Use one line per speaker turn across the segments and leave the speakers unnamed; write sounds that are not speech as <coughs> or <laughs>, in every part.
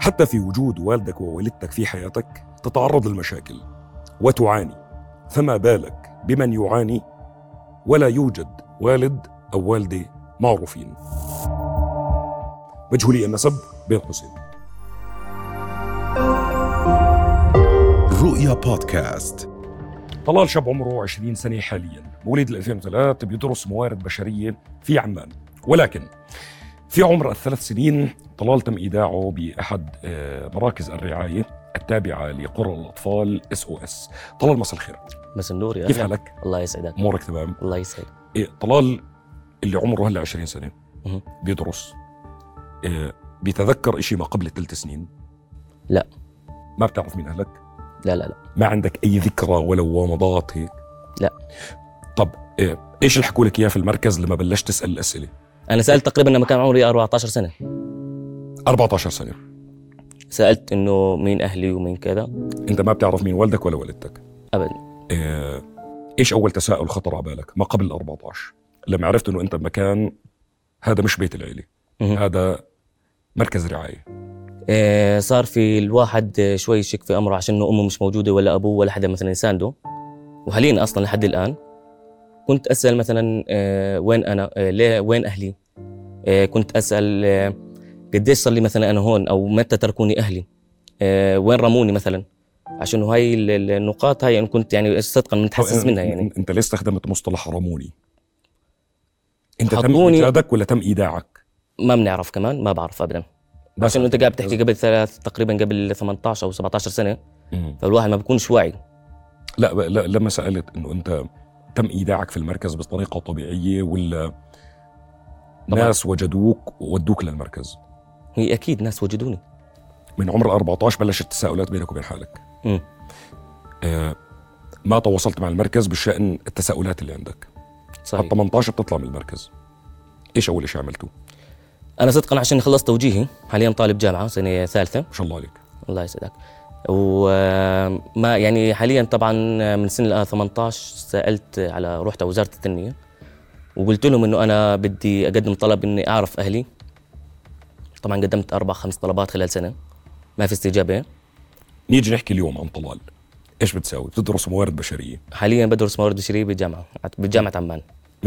حتى في وجود والدك ووالدتك في حياتك تتعرض للمشاكل وتعاني فما بالك بمن يعاني ولا يوجد والد أو والدة معروفين مجهولي النسب بين قوسين
رؤيا بودكاست
طلال شاب عمره 20 سنة حاليا مواليد 2003 بيدرس موارد بشرية في عمان ولكن في عمر الثلاث سنين طلال تم ايداعه باحد آه، مراكز الرعايه التابعه لقرى الاطفال اس او اس طلال مساء الخير
بس النور يا
كيف
أهلا.
حالك إيه.
الله يسعدك
امورك تمام
الله يسعدك
إيه طلال اللي عمره هلا 20 سنه
مهم.
بيدرس إيه بيتذكر إشي ما قبل ثلاث سنين
لا.
ما بتعرف مين اهلك
لا لا لا
ما عندك اي ذكرى ولو ومضات هيك
لا.
طب إيه ايش اللي حكوا لك اياه في المركز لما بلشت تسال الاسئله
انا سالت تقريبا لما كان عمري 14 سنه
14 سنه
سالت انه مين اهلي ومين كذا
انت ما بتعرف مين والدك ولا والدتك
ابدا
آه، ايش اول تساؤل خطر على بالك ما قبل ال 14 لما عرفت انه انت بمكان هذا مش بيت العيله
مهم.
هذا مركز رعايه
آه صار في الواحد آه، شوي يشك في امره عشان انه امه مش موجوده ولا ابوه ولا حدا مثلا يسانده وحاليا اصلا لحد الان كنت اسال مثلا آه وين انا آه ليه وين اهلي آه كنت اسال آه قديش صار لي مثلا انا هون او متى تركوني اهلي آه وين رموني مثلا عشان هاي ال- ال- النقاط هاي انا كنت يعني صدقا متحسس منها يعني
أنت- انت ليه استخدمت مصطلح رموني انت تم
حطوني-
ايجادك ولا تم ايداعك
ما بنعرف كمان ما بعرف ابدا
آه، بس
عشان انت قاعد بتحكي قبل ثلاث تقريبا قبل 18 او 17 سنه
مم.
فالواحد ما بيكونش واعي
لا, لا لما سالت انه انت تم ايداعك في المركز بطريقه طبيعيه ولا
طبعاً.
ناس وجدوك وودوك للمركز
هي اكيد ناس وجدوني
من عمر 14 بلشت التساؤلات بينك وبين حالك
مم.
آه، ما تواصلت مع المركز بشأن التساؤلات اللي عندك
صحيح
ال 18 بتطلع من المركز ايش اول شيء عملته
انا صدقا عشان خلصت توجيهي حاليا طالب جامعه سنه ثالثه
ما شاء الله عليك
الله يسعدك وما يعني حاليا طبعا من سنه 18 سالت على رحت على وزاره التنميه وقلت لهم انه انا بدي اقدم طلب اني اعرف اهلي طبعا قدمت اربع خمس طلبات خلال سنه ما في استجابه
نيجي نحكي اليوم عن طلال ايش بتساوي بتدرس موارد بشريه
حاليا بدرس موارد بشريه بالجامعه بجامعه عمان
100%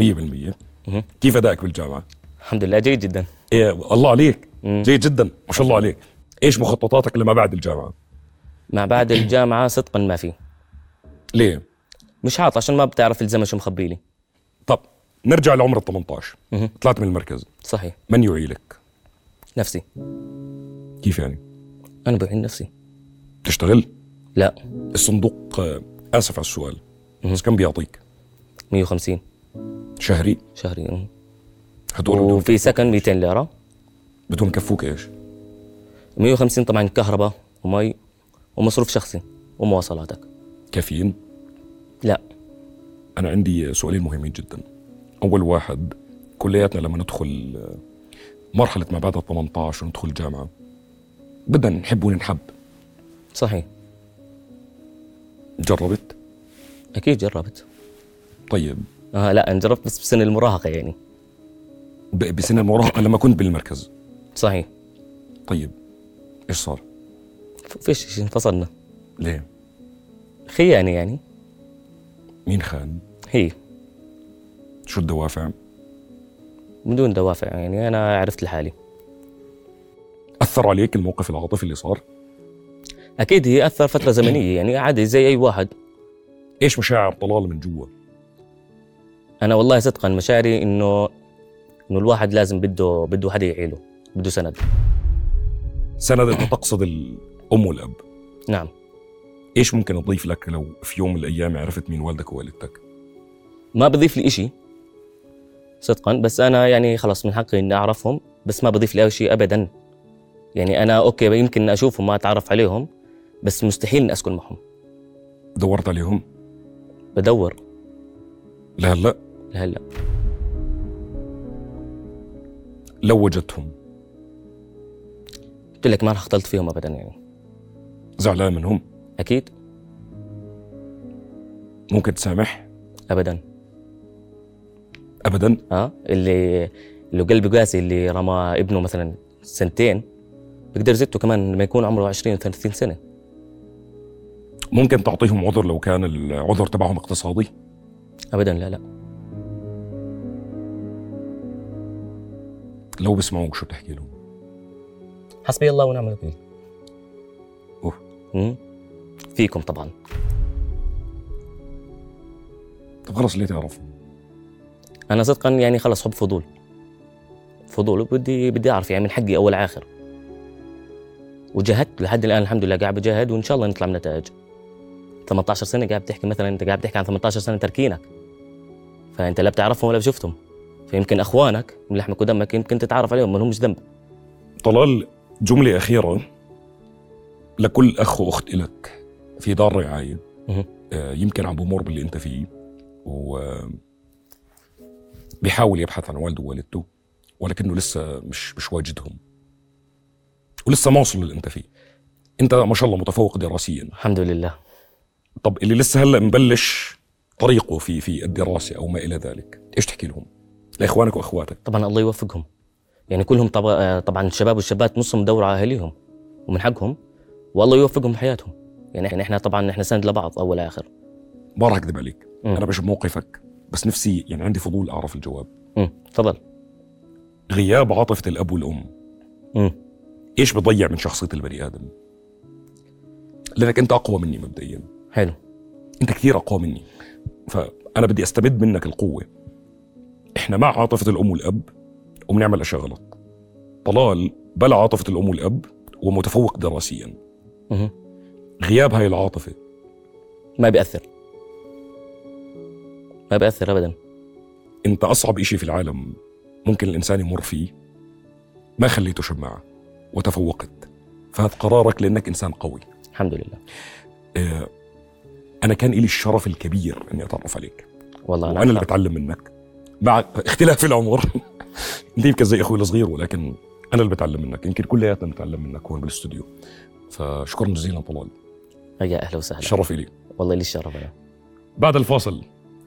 مهم.
كيف ادائك بالجامعه
الحمد لله جيد جدا
إيه الله عليك
مم.
جيد جدا ما شاء الله عليك ايش مخططاتك لما بعد الجامعه
ما بعد الجامعه صدقا ما في
ليه
مش حاط عشان ما بتعرف الزمن شو مخبي لي
طب نرجع لعمر ال 18
مهم.
طلعت من المركز
صحيح
من يعيلك
نفسي
كيف يعني
انا بعين نفسي
تشتغل
لا
الصندوق آه، اسف على السؤال
مهم.
بس كم بيعطيك
150
شهري
شهريا
هدول بدهم
وفي سكن 200 ليره
بدهم يكفوك ايش
150 طبعا كهرباء ومي ومصروف شخصي ومواصلاتك
كافيين
لا
أنا عندي سؤالين مهمين جدا أول واحد كلياتنا لما ندخل آه، مرحلة ما بعد ال 18 وندخل الجامعة بدنا نحب وننحب
صحيح
جربت
اكيد جربت
طيب
آه لا انا جربت بس بسن المراهقه يعني
ب- بسن المراهقة لما كنت بالمركز
صحيح
طيب إيش صار
ف- فيش شيء انفصلنا
ليه
خيانه يعني
مين خان
هي
شو الدوافع
بدون دوافع يعني انا عرفت لحالي
أثر عليك الموقف العاطفي اللي صار
اكيد هي اثر فتره زمنيه يعني عادي زي اي واحد
إيش مشاعر طلال من جوا
انا والله صدقا مشاعري انه انه الواحد لازم بده بده حدا يعيله بده سند
سند أنت تقصد الأم والأب
نعم
إيش ممكن أضيف لك لو في يوم من الأيام عرفت مين والدك ووالدتك
ما بضيف لي إشي صدقا بس انا يعني خلص من حقي اني اعرفهم بس ما بضيف لي أي شيء ابدا يعني انا اوكي يمكن اشوفهم ما اتعرف عليهم بس مستحيل اني اسكن معهم
دورت عليهم
بدور
لهلأ
لهلا
لو وجدتهم
قلت لك ما راح اختلط فيهم ابدا يعني
زعلان منهم
اكيد
ممكن تسامح
ابدا
ابدا
آه؟ ها اللي اللي قلبه قاسي اللي رمى ابنه مثلا سنتين بقدر زيته كمان لما يكون عمره 20 30 سنه
ممكن تعطيهم عذر لو كان العذر تبعهم اقتصادي
ابدا لا لا
لو بسمعوك شو بتحكي لهم
حسبي الله ونعم الوكيل
أوف.
أمم. فيكم طبعا
طب خلص ليه تعرفهم
انا صدقا يعني خلص حب فضول فضول وبدي بدي اعرف يعني من حقي اول اخر وجاهدت لحد الان الحمد لله قاعد بجاهد وان شاء الله نطلع بنتائج 18 سنه قاعد بتحكي مثلا انت قاعد بتحكي عن 18 سنه تركينك فانت لا بتعرفهم ولا بشفتهم فيمكن اخوانك من لحمك ودمك يمكن تتعرف عليهم ما لهمش ذنب
طلال جملة أخيرة لكل أخ وأخت إلك في دار رعاية
مهم.
آه، يمكن عم بمر باللي أنت فيه و آه، بيحاول يبحث عن والده ووالدته ولكنه لسه مش مش واجدهم ولسه ما وصل للي أنت فيه أنت ما شاء الله متفوق دراسيا
الحمد لله
طب اللي لسه هلا مبلش طريقه في في الدراسة أو ما إلى ذلك إيش تحكي لهم لإخوانك وأخواتك
طبعا الله يوفقهم يعني كلهم طبعا طبعا الشباب والشابات نصهم دور على اهاليهم ومن حقهم والله يوفقهم بحياتهم يعني احنا احنا طبعا احنا سند لبعض اول اخر
ما راح أكذب عليك
مم.
أنا مش بموقفك بس نفسي يعني عندي فضول أعرف الجواب
امم تفضل
غياب عاطفة الأب والأم
امم
إيش بضيع من شخصية البني آدم؟ لأنك أنت أقوى مني مبدئيا
حلو
أنت كثير أقوى مني فأنا بدي أستمد منك القوة إحنا مع عاطفة الأم والأب وبنعمل أشياء غلط طلال بلا عاطفة الأم والأب ومتفوق دراسيا
مهم.
غياب هاي العاطفة
ما بياثر ما بياثر ابدا
أنت أصعب إشي في العالم ممكن الإنسان يمر فيه ما خليته شماعة وتفوقت فهذا قرارك لأنك إنسان قوي
الحمد لله
آه، انا كان لي الشرف الكبير اني اتعرف عليك
والله
وانا اللي
أكثر.
بتعلم منك مع اختلاف العمر <laughs> انت يمكن زي اخوي الصغير ولكن انا اللي بتعلم منك يمكن كلياتنا بنتعلم منك هون بالاستوديو فشكرا جزيلا طلال
يا اهلا وسهلا
شرف لي
والله لي الشرف انا
بعد الفاصل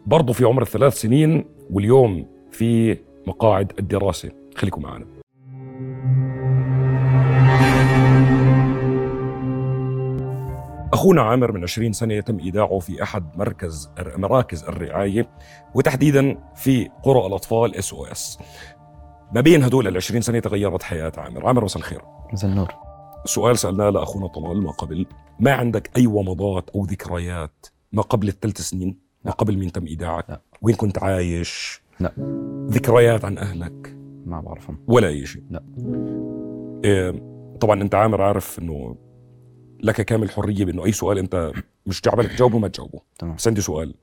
برضه في عمر الثلاث سنين واليوم في مقاعد الدراسه خليكم معنا أخونا عامر من 20 سنة تم إيداعه في أحد مركز مراكز الرعاية وتحديدا في قرى الأطفال اس او اس ما بين هدول ال 20 سنة تغيرت حياة عامر عامر مساء الخير
مساء النور
سؤال سألناه لأخونا طلال ما قبل ما عندك أي ومضات أو ذكريات ما قبل الثلاث سنين ما قبل مين تم إيداعك
لا.
وين كنت عايش
لا.
ذكريات عن أهلك
ما بعرفهم
ولا أي شيء
لا.
إيه طبعا أنت عامر عارف أنه لك كامل حرية بأنه أي سؤال أنت مش جعبلك تجاوبه ما تجاوبه
تمام
بس عندي سؤال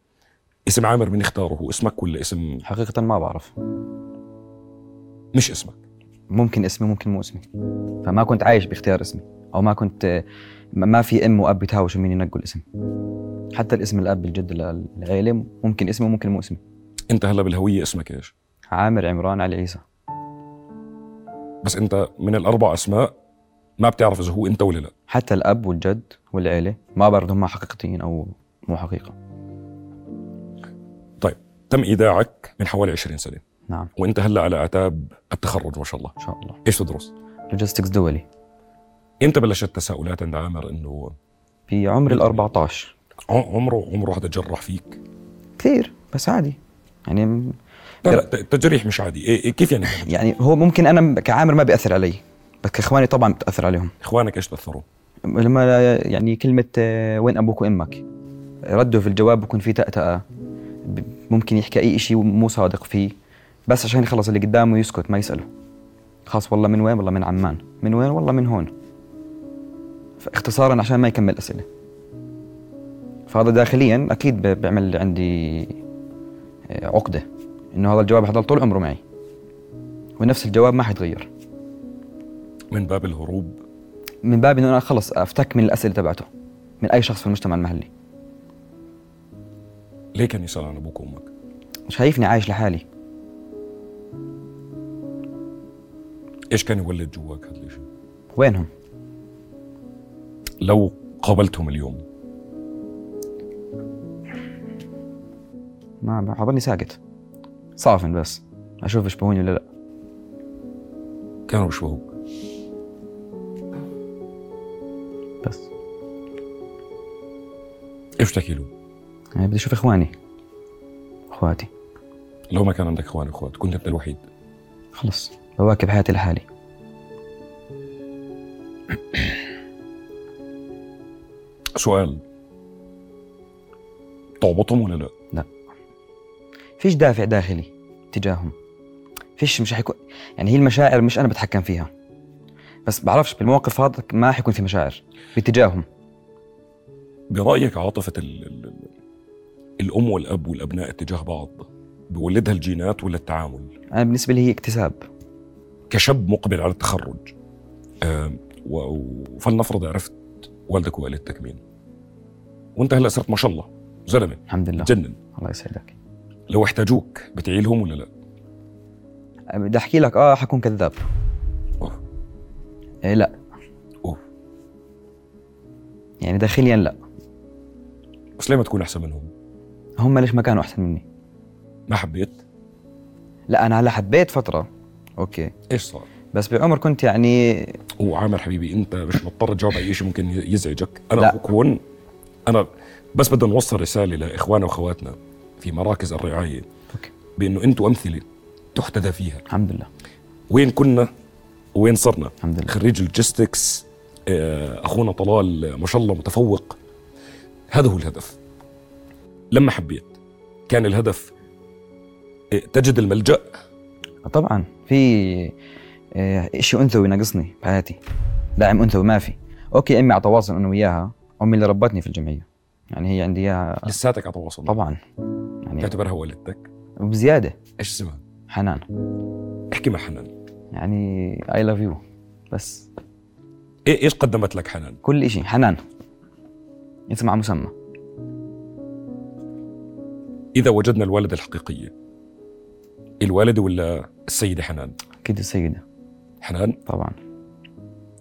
اسم عامر مين اختاره هو اسمك ولا اسم
حقيقة ما بعرف
مش اسمك
ممكن اسمي ممكن مو اسمي فما كنت عايش باختيار اسمي أو ما كنت ما- ما في أم وأب بيتهاوشوا مين ينقوا الاسم حتى الاسم الأب الجد لل- العيلة ممكن اسمي وممكن مو اسمي
أنت هلا بالهوية اسمك إيش
عامر عمران علي عيسى
بس أنت من الأربع أسماء ما بتعرف إذا هو أنت ولا لا
حتى الأب والجد والعيلة ما بعرف إذا هم حقيقيين أو مو حقيقة
طيب، تم إيداعك من حوالي 20 سنة
نعم
وانت هلا على اعتاب التخرج ما شاء الله
إن شاء الله
ايش تدرس
لوجيستكس دولي
امتى بلشت تساؤلات عند عامر انه
في عمر ال 14
ع- عمره عمره حدا جرح فيك
كثير بس عادي يعني م-
لا لا ت- تجريح مش عادي إيه إيه كيف يعني كان؟
يعني هو ممكن أنا كعامر ما بيأثر علي بس كإخواني طبعا بتأثر عليهم
اخوانك ايش تاثروا
لما يعني كلمة آه، وين أبوك وأمك رده في الجواب بكون في تأتأة ب- ممكن يحكي أي شيء مو صادق فيه بس عشان يخلص اللي قدامه يسكت ما يسأله خاص والله من وين والله من عمان من وين والله من هون اختصارا عشان ما يكمل أسئلة فهذا داخليا أكيد ب- بيعمل عندي آه، عقدة إنه هذا الجواب حضل طول عمره معي ونفس الجواب ما حيتغير
من باب الهروب
من باب انه انا خلص افتك من الاسئله تبعته من اي شخص في المجتمع المحلي
ليه كان يسال عن ابوك وامك
شايفني عايش لحالي
ايش كان يولد جواك هذا الشيء
وينهم
لو قابلتهم اليوم
ما ما- حضرني ساكت صافن بس اشوف يشبهوني ولا لا
كانوا بيشبهوك
بس
اشتكي له
يعني بدي اشوف اخواني اخواتي
لو ما كان عندك اخوان اخوات كنت انت الوحيد
خلص بواكب حياتي لحالي
سؤال تعبطهم ولا لا؟
فيش دافع داخلي تجاههم فيش مش حيكون يعني هي المشاعر مش انا بتحكم فيها بس بعرفش بالموقف هذا ما حيكون في مشاعر باتجاههم
برايك عاطفه ال ال ال الام والاب والابناء اتجاه بعض بولدها الجينات ولا التعامل؟
انا بالنسبه لي هي اكتساب
كشاب مقبل على التخرج آم، و- و- فلنفرض عرفت والدك ووالدتك مين وانت هلا صرت ما شاء الله زلمه
الحمد لله
جنن
الله يسعدك
لو احتاجوك بتعي لهم ولا لا؟
بدي احكي لك اه حكون كذاب
أوه.
إيه لا
أوه.
يعني داخليا لا
بس ليه ما تكون احسن منهم؟
هم ليش ما كانوا احسن مني
ما حبيت؟
لا انا هلا حبيت فتره اوكي
ايش صار؟
بس بعمر كنت يعني
هو عامر حبيبي انت مش مضطر تجاوب اي شيء ممكن يزعجك انا
لا.
بكون انا بس بدنا نوصل رساله لاخواننا واخواتنا في مراكز الرعايه
أوكي.
بانه انتم امثله تحتذى فيها
الحمد لله
وين كنا وين صرنا
الحمد لله
خريج لوجيستكس آه، اخونا طلال آه، ما شاء الله متفوق هذا هو الهدف لما حبيت كان الهدف آه، تجد الملجأ
طبعا في آه، شيء انثوي ناقصني بحياتي داعم انثوي ما في اوكي امي على تواصل انا وياها امي اللي ربتني في الجمعيه يعني هي عندي اياها
لساتك على تواصل
طبعا يعني
تعتبرها والدتك
وبزياده
ايش اسمها
حنان
احكي مع حنان
يعني اي لاف يو بس
إيه- ايش قدمت لك حنان
كل شيء حنان اسم على مسمى
إذا وجدنا الوالدة الحقيقية الوالدة ولا السيدة حنان؟
اكيد السيده
حنان
طبعا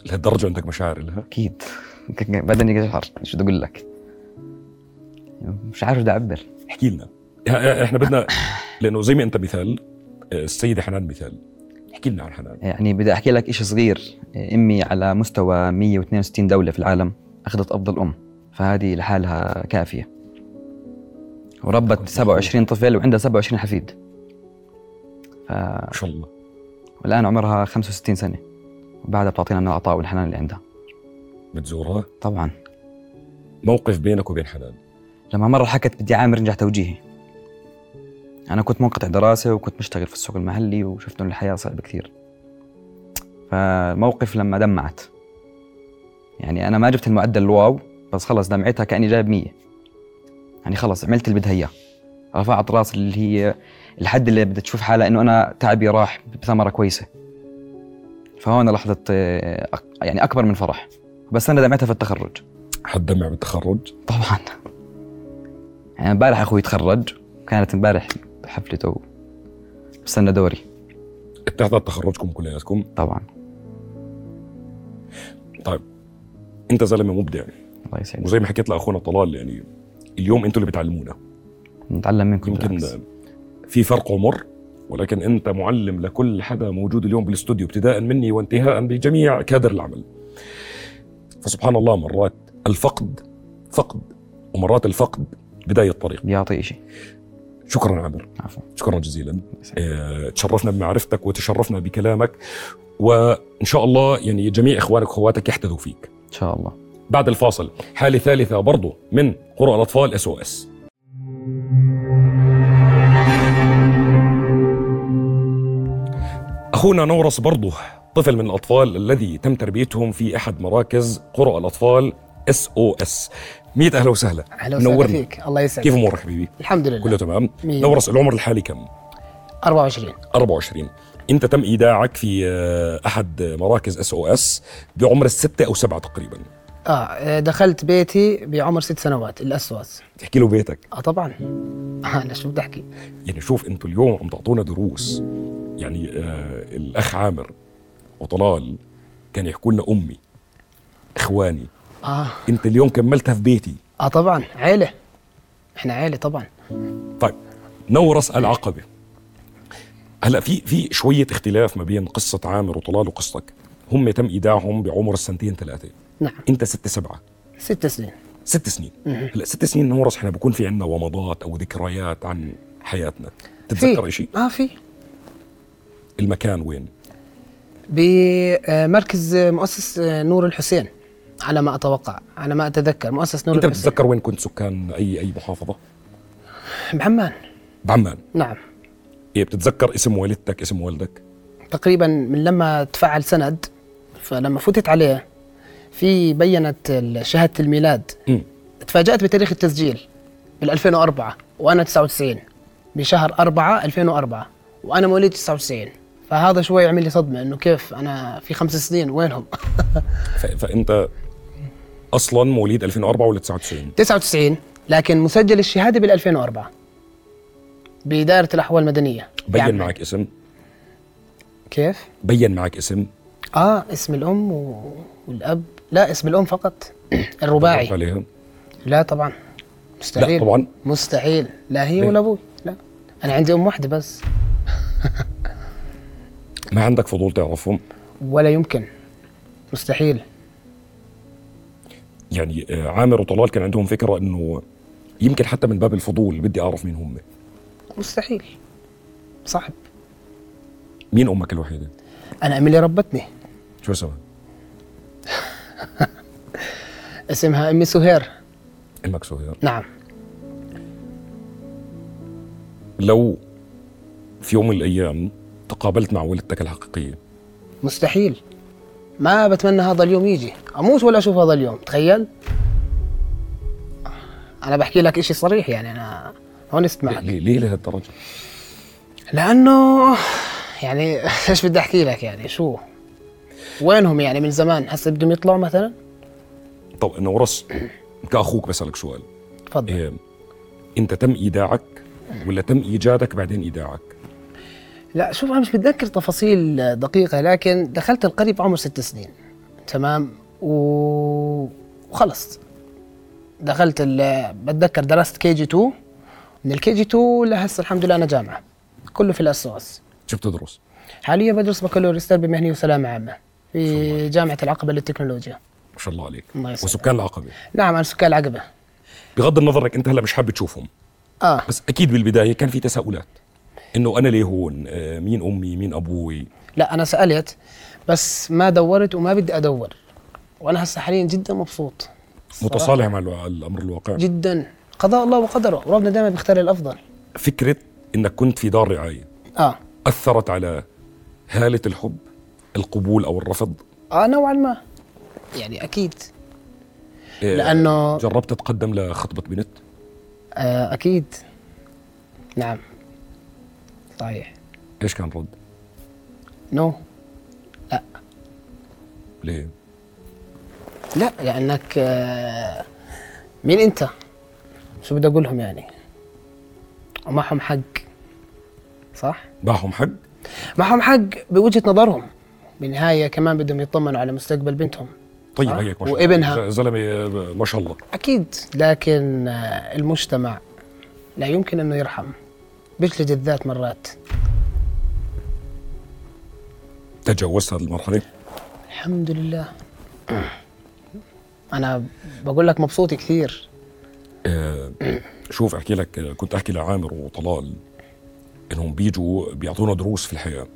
لهالدرجة عندك مشاعر لها؟
<laughs> اكيد بدني يشعر شو بدي اقول لك مش عارف بدي اعبر
احكي لنا إح- احنا بدنا لأنه زي ما أنت مثال السيدة حنان مثال احكي لنا عن حنان
يعني بدي احكي لك شيء صغير امي على مستوى 162 دوله في العالم اخذت افضل ام فهذه لحالها كافيه وربت 27 طفل وعندها 27 حفيد ف...
ما شاء الله
والان عمرها 65 سنه وبعدها بتعطينا من العطاء والحنان اللي عندها
بتزورها
طبعا
موقف بينك وبين حنان
لما مره حكت بدي عامر نجح توجيهي انا كنت منقطع دراسه وكنت مشتغل في السوق المحلي وشفت انه الحياه صعبه كثير فالموقف لما دمعت يعني انا ما جبت المعدل الواو بس خلص دمعتها كاني جايب 100 يعني خلص عملت اللي بدها اياه رفعت راسي اللي هي الحد اللي بدها تشوف حالها انه انا تعبي راح بثمره كويسه فهون لحظه آه، أك- يعني اكبر من فرح بس انا دمعتها في التخرج
حد دمع بالتخرج
طبعا يعني امبارح اخوي تخرج كانت امبارح حفلته بستنى دوري
اتحدت تخرجكم كلياتكم
طبعا
أنت زلمة مبدع
الله يسعدك
وزي ما حكيت لأخونا طلال يعني اليوم أنتوا اللي بتعلمونا
نتعلم منكم
يمكن
بالعكس.
في فرق عمر ولكن انت معلم لكل حدا موجود اليوم بالاستوديو ابتداء مني وانتهاء بجميع كادر العمل فسبحان الله مرات الفقد فقد ومرات الفقد بدايه الطريق
بيعطي شيء
شكرا عامر
عفوا
شكرا جزيلا
يسعدك.
آه، تشرفنا بمعرفتك وتشرفنا بكلامك وان شاء الله يعني جميع اخوانك واخواتك يحتذوا فيك
ان شاء الله
بعد الفاصل حالة ثالثة برضو من قرى الأطفال اس او اس أخونا نورس برضو طفل من الأطفال الذي تم تربيتهم في أحد مراكز قرى الأطفال اس او اس ميت أهلا وسهلا
اهلا وسهلا
منورني.
فيك الله يسعدك
كيف أمورك حبيبي؟
الحمد
كله
لله
تمام
مية.
نورس العمر الحالي كم؟
24
24 أنت تم إيداعك في آه، أحد مراكز اس او اس بعمر الستة أو سبعة تقريبا
اه دخلت بيتي بعمر ست سنوات الاسواس
تحكي له بيتك
اه <laughs> طبعا انا آه، شو بدي احكي
يعني شوف انتوا اليوم عم تعطونا دروس يعني آه الاخ عامر وطلال كان يحكوا لنا امي اخواني
اه
انت اليوم كملتها في بيتي
اه طبعا عيله احنا عيله طبعا
طيب نورس العقبه هلا في في شويه اختلاف ما بين قصه عامر وطلال وقصتك هم تم ايداعهم بعمر السنتين ثلاثه
نعم
انت ست سبعه
ست سنين
ست سنين هلا ست سنين نورس احنا بكون في عندنا ومضات او ذكريات عن حياتنا تتذكر شيء
اه في
المكان وين
بمركز آه، مؤسس آه، نور الحسين على ما اتوقع على ما اتذكر مؤسس نور
انت
الحسين
بتتذكر وين كنت سكان اي اي محافظه
بعمان
بعمان
نعم
إيه بتتذكر اسم والدتك اسم والدك
تقريبا من لما تفعل سند فلما فتت عليه في بينت ال- شهاده الميلاد
مم.
تفاجات بتاريخ التسجيل بال 2004 وانا 99 بشهر 4 2004 وانا مواليد 99 فهذا شوي عمل لي صدمه انه كيف انا في خمس سنين وينهم <laughs>
ف... فانت اصلا مواليد 2004 ولا 99
99 لكن مسجل الشهاده بال 2004 بإدارة الأحوال المدنية
بين
يعني
معك اسم
كيف؟
بين معك اسم
آه اسم الأم و... والأب لا اسم الأم
<coughs>
فقط الرباعي
مرت عليها
لا طبعا مستحيل
لا طبعاً.
مستحيل لا هي
ليه؟
ولا ابوي لا انا عندي ام واحده بس
ما عندك فضول تعرفهم
ولا يمكن مستحيل
يعني آه، عامر وطلال كان عندهم فكره انه يمكن حتى من باب الفضول بدي اعرف مين هم
مستحيل صعب
مين امك الوحيده
انا امي اللي ربتني
شو اسمها
اسمها امي سهير
امك سهير
نعم
لو في يوم من الايام تقابلت مع والدتك الحقيقيه
مستحيل ما بتمنى هذا اليوم يجي اموت ولا اشوف هذا اليوم تخيل انا بحكي لك اشي صريح يعني انا هونست معك
ليه ليه لهالدرجه
لانه يعني <laughs> ايش بدي احكي لك يعني شو وينهم يعني من زمان هسه بدهم يطلعوا مثلا
طب انه ورص كاخوك بسالك سؤال
تفضل
إيه، انت تم ايداعك ولا تم ايجادك بعدين ايداعك
لا شوف انا مش متذكر تفاصيل دقيقه لكن دخلت القرية بعمر ست سنين تمام و... وخلص دخلت ال... بتذكر درست كي جي 2 من الكي جي 2 لهسه الحمد لله انا جامعه كله في الاسواس
شو بتدرس
حاليا بدرس بكالوريوس تربيه مهنيه وسلامه عامه في جامعه العقبه للتكنولوجيا
ما شاء الله عليك
الله يسعدك.
وسكان العقبه
نعم انا سكان العقبه
بغض النظر انك انت هلا مش حابب تشوفهم
اه
بس اكيد بالبدايه كان في تساؤلات انه انا ليه هون آه، مين امي مين ابوي
لا انا سالت بس ما دورت وما بدي ادور وانا هسه حاليا جدا مبسوط الصراحة.
متصالح مع الوا- الامر الواقع
جدا قضاء الله وقدره وربنا دائما بيختار الافضل
فكره انك كنت في دار رعايه
اه
اثرت على هاله الحب القبول او الرفض
اه نوعا ما يعني اكيد
آه،
لأنه-
جربت تتقدم لخطبه بنت
آه اكيد نعم صحيح
ايش كان رد
نو
ليه
لا لانك آه مين انت شو بدي اقول لهم يعني ومعهم حق صح
معهم حق
معهم حق بوجهه نظرهم بالنهايه كمان بدهم يطمنوا على مستقبل بنتهم
طيب
آه،
هيك ما شاء
وابنها.
الله ز- زلمه آه، ما شاء الله
أكيد لكن آه، المجتمع لا يمكن أنه يرحم بيجلد الذات مرات
تجاوزت هذه المرحله
الحمد لله أنا بقول لك مبسوط كثير
آه، شوف احكي لك آه، كنت احكي لعامر وطلال انهم بيجوا بيعطونا دروس في الحياه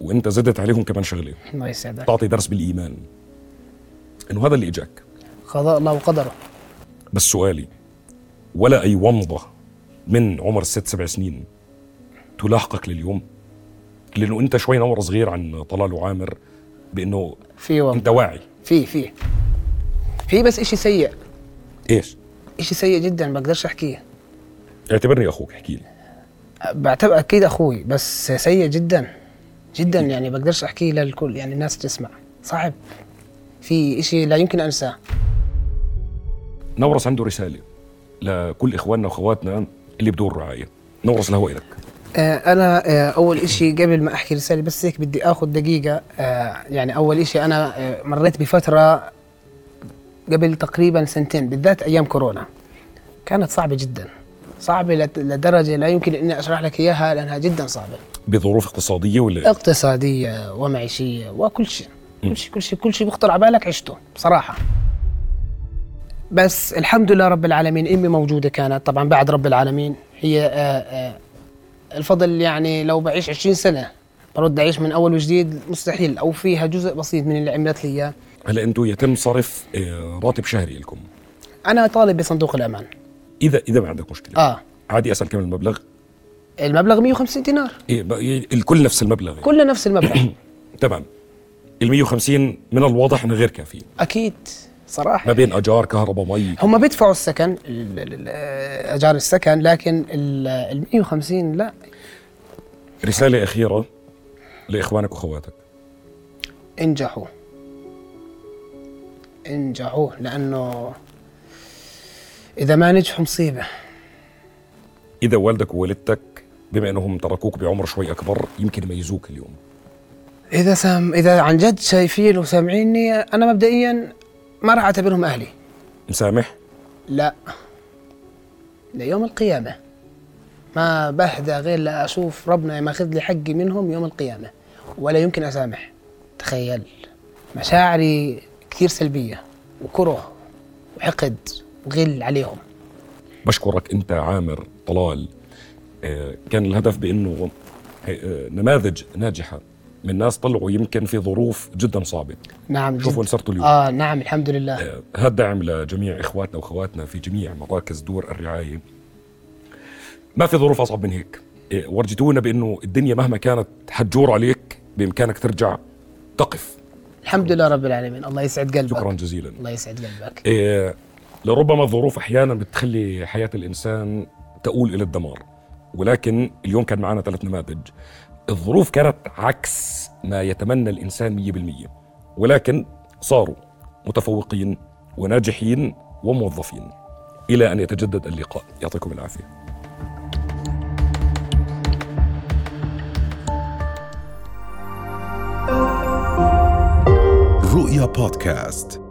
وانت زدت عليهم كمان شغله
الله يسعدك
تعطي درس بالايمان انه هذا اللي اجاك
قضاء الله وقدره
بس سؤالي ولا اي ومضه من عمر الست سبع سنين تلاحقك لليوم لانه انت شوي نور صغير عن طلال وعامر بانه
في وم-
انت واعي
في في في بس إشي سيء
ايش
إشي سيء جدا ما بقدرش أحكيه
اعتبرني اخوك احكي لي
بعتبر أكيد أخوي بس سيء جدا جدا يعني بقدرش أحكيه للكل يعني الناس تسمع صعب في إشي لا يمكن أنساه
نورس عنده رساله لكل اخواننا واخواتنا اللي بدور رعايه نورس الهواء لك
آه، انا آه، اول إشي قبل ما احكي رساله بس هيك بدي اخذ دقيقه آه، يعني اول إشي انا آه، مريت بفتره قبل تقريبا سنتين بالذات ايام كورونا كانت صعبه جدا صعبه لت- لدرجه لا يمكن اني اشرح لك اياها لانها جدا صعبه
بظروف اقتصاديه ولا
اقتصاديه ومعيشيه وكل شيء كل شيء كل شيء كل شيء بيخطر على بالك عشته بصراحه بس الحمد لله رب العالمين امي موجوده كانت طبعا بعد رب العالمين هي آآ آآ الفضل يعني لو بعيش 20 سنه برد اعيش من اول وجديد مستحيل او فيها جزء بسيط من اللي عملت لي اياه
هلا انتم يتم صرف آه، راتب شهري لكم
انا طالب بصندوق الامان
اذا اذا ما عندك مشكله
اه
عادي اسال كم المبلغ
المبلغ 150 دينار
إيه بقى- إيه، الكل نفس المبلغ يعني.
كله نفس المبلغ
تمام ال 150 من الواضح انه غير كافي
اكيد صراحه
ما بين اجار كهرباء مي
هم بيدفعوا السكن ال- ال- ال- اجار السكن لكن ال 150 لا
رساله اخيره لاخوانك واخواتك
انجحوا انجحوا لانه اذا ما نجحوا مصيبه
اذا والدك ووالدتك بما انهم تركوك بعمر شوي اكبر يمكن يميزوك اليوم
اذا سام اذا عن جد شايفين وسامعيني انا مبدئيا ما راح اعتبرهم اهلي
مسامح
لا ليوم القيامة ما بهدى غير لأشوف ربنا ياخذ لي حقي منهم يوم القيامة ولا يمكن أسامح تخيل مشاعري كثير سلبية وكره وحقد وغل عليهم
بشكرك انت عامر طلال آه، كان الهدف بانه آه، نماذج ناجحه من ناس طلعوا يمكن في ظروف جدا صعبه
نعم
شوفوا اللي
جد.
صرتوا اليوم
آه نعم الحمد لله
آه، هذا دعم لجميع اخواتنا واخواتنا في جميع مراكز دور الرعايه ما في ظروف اصعب من هيك آه، ورجتونا بانه الدنيا مهما كانت حتجور عليك بامكانك ترجع تقف
الحمد لله رب العالمين الله يسعد قلبك
شكرا جزيلا
الله يسعد قلبك
إيه، لربما الظروف احيانا بتخلي حياه الانسان تؤول الى الدمار ولكن اليوم كان معنا ثلاث نماذج الظروف كانت عكس ما يتمنى الانسان 100% ولكن صاروا متفوقين وناجحين وموظفين الى ان يتجدد اللقاء يعطيكم العافيه
رؤيا بودكاست